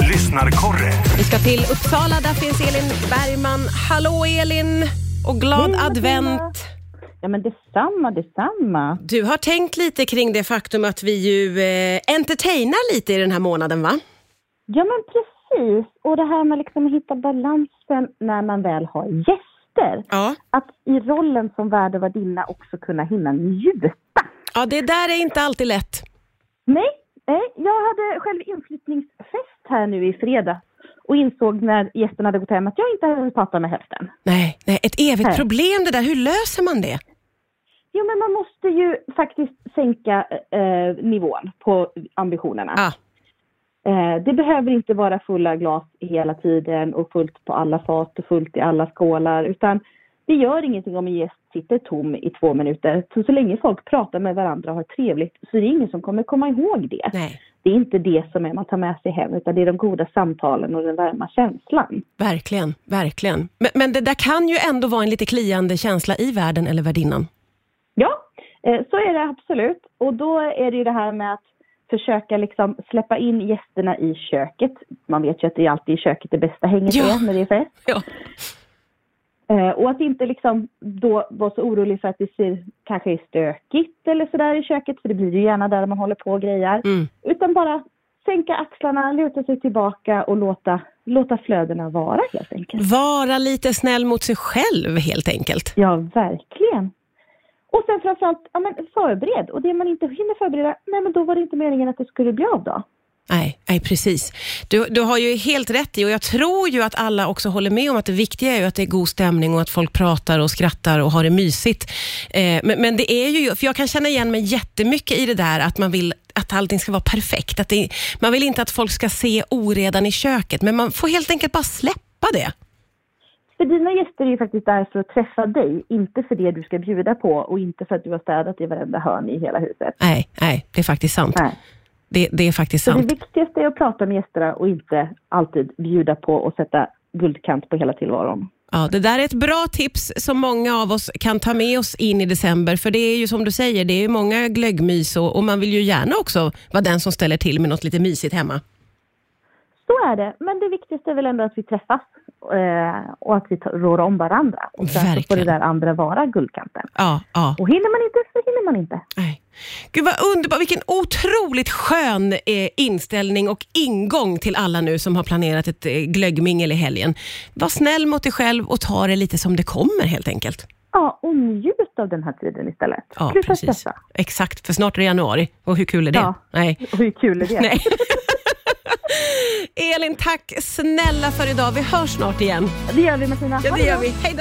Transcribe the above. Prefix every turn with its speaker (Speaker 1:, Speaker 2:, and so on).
Speaker 1: Lyssnarkorre.
Speaker 2: Vi ska till Uppsala, där finns Elin Bergman. Hallå Elin! Och glad
Speaker 3: Hej, Matilda.
Speaker 2: advent!
Speaker 3: Ja, men detsamma, detsamma.
Speaker 2: Du har tänkt lite kring det faktum att vi ju eh, entertainar lite i den här månaden va?
Speaker 3: Ja, men precis. Och det här med liksom att hitta balansen när man väl har gäster.
Speaker 2: Ja.
Speaker 3: Att i rollen som värdevärdinna också kunna hinna njuta.
Speaker 2: Ja, det där är inte alltid lätt.
Speaker 3: Nej, nej, jag hade själv inflyttningsfest här nu i fredag och insåg när gästerna hade gått hem att jag inte hade pratat med hälften.
Speaker 2: Nej, nej ett evigt
Speaker 3: Nej.
Speaker 2: problem det där. Hur löser man det?
Speaker 3: Jo, men man måste ju faktiskt sänka eh, nivån på ambitionerna.
Speaker 2: Ah,
Speaker 3: Eh, det behöver inte vara fulla glas hela tiden och fullt på alla fat och fullt i alla skålar utan det gör ingenting om en gäst sitter tom i två minuter. Så, så länge folk pratar med varandra och har trevligt så är det ingen som kommer komma ihåg det.
Speaker 2: nej,
Speaker 3: Det är inte det som är man tar med sig hem utan det är de goda samtalen och den varma känslan.
Speaker 2: verkligen, verkligen. Men, men det där kan ju ändå vara en lite kliande känsla i världen eller värdinnan.
Speaker 3: Ja, eh, så är det absolut. Och då är det ju det här med att försöka liksom släppa in gästerna i köket. Man vet ju att det är alltid i köket det bästa hänget
Speaker 2: Ja.
Speaker 3: är när det är fest.
Speaker 2: Ja.
Speaker 3: Eh, Och att inte liksom då vara så orolig för att det ser, kanske är stökigt eller sådär i köket, för det blir ju gärna där man håller på och grejar.
Speaker 2: Mm.
Speaker 3: Utan bara sänka axlarna, luta sig tillbaka och låta, låta flödena vara helt enkelt.
Speaker 2: Vara lite snäll mot sig själv helt enkelt.
Speaker 3: Ja, verkligen. Och sen framförallt, ja men förbered. Och det man inte hinner förbereda, nej men då var det inte meningen att det skulle bli av då.
Speaker 2: Nej, nej precis. Du, du har ju helt rätt i, och jag tror ju att alla också håller med om att det viktiga är ju att det är god stämning och att folk pratar och skrattar och har det mysigt. Eh, men, men det är ju, för jag kan känna igen mig jättemycket i det där att man vill att allting ska vara perfekt. Att det, man vill inte att folk ska se oredan i köket, men man får helt enkelt bara släppa det.
Speaker 3: För dina gäster är ju faktiskt där för att träffa dig, inte för det du ska bjuda på och inte för att du har städat i varenda hörn i hela huset.
Speaker 2: Nej, nej det är faktiskt sant.
Speaker 3: Nej.
Speaker 2: Det, det är faktiskt
Speaker 3: Så det
Speaker 2: sant.
Speaker 3: viktigaste är att prata med gästerna och inte alltid bjuda på och sätta guldkant på hela tillvaron.
Speaker 2: Ja, det där är ett bra tips som många av oss kan ta med oss in i december. För det är ju som du säger, det är ju många glöggmys och, och man vill ju gärna också vara den som ställer till med något lite mysigt hemma.
Speaker 3: Så är det, men det viktigaste är väl ändå att vi träffas eh, och att vi tar- rår om varandra. Och sen så får det
Speaker 2: Verkligen.
Speaker 3: där andra vara guldkanten.
Speaker 2: Ja, ja.
Speaker 3: Och hinner man inte så hinner man inte.
Speaker 2: Nej. Gud vad underbart, vilken otroligt skön eh, inställning och ingång till alla nu som har planerat ett eh, glöggmingel i helgen. Var snäll mot dig själv och ta det lite som det kommer helt enkelt.
Speaker 3: Ja, och njut av den här tiden istället. Sluta stressa.
Speaker 2: Exakt, för snart är det januari och hur kul är det?
Speaker 3: Ja.
Speaker 2: Nej.
Speaker 3: Och hur kul är det?
Speaker 2: Nej. Elin, tack snälla för idag. Vi hörs snart igen.
Speaker 3: Det gör vi Martina.
Speaker 2: Ja,
Speaker 3: Ha
Speaker 2: det
Speaker 3: det
Speaker 2: gör
Speaker 3: bra.
Speaker 2: vi. Hej då!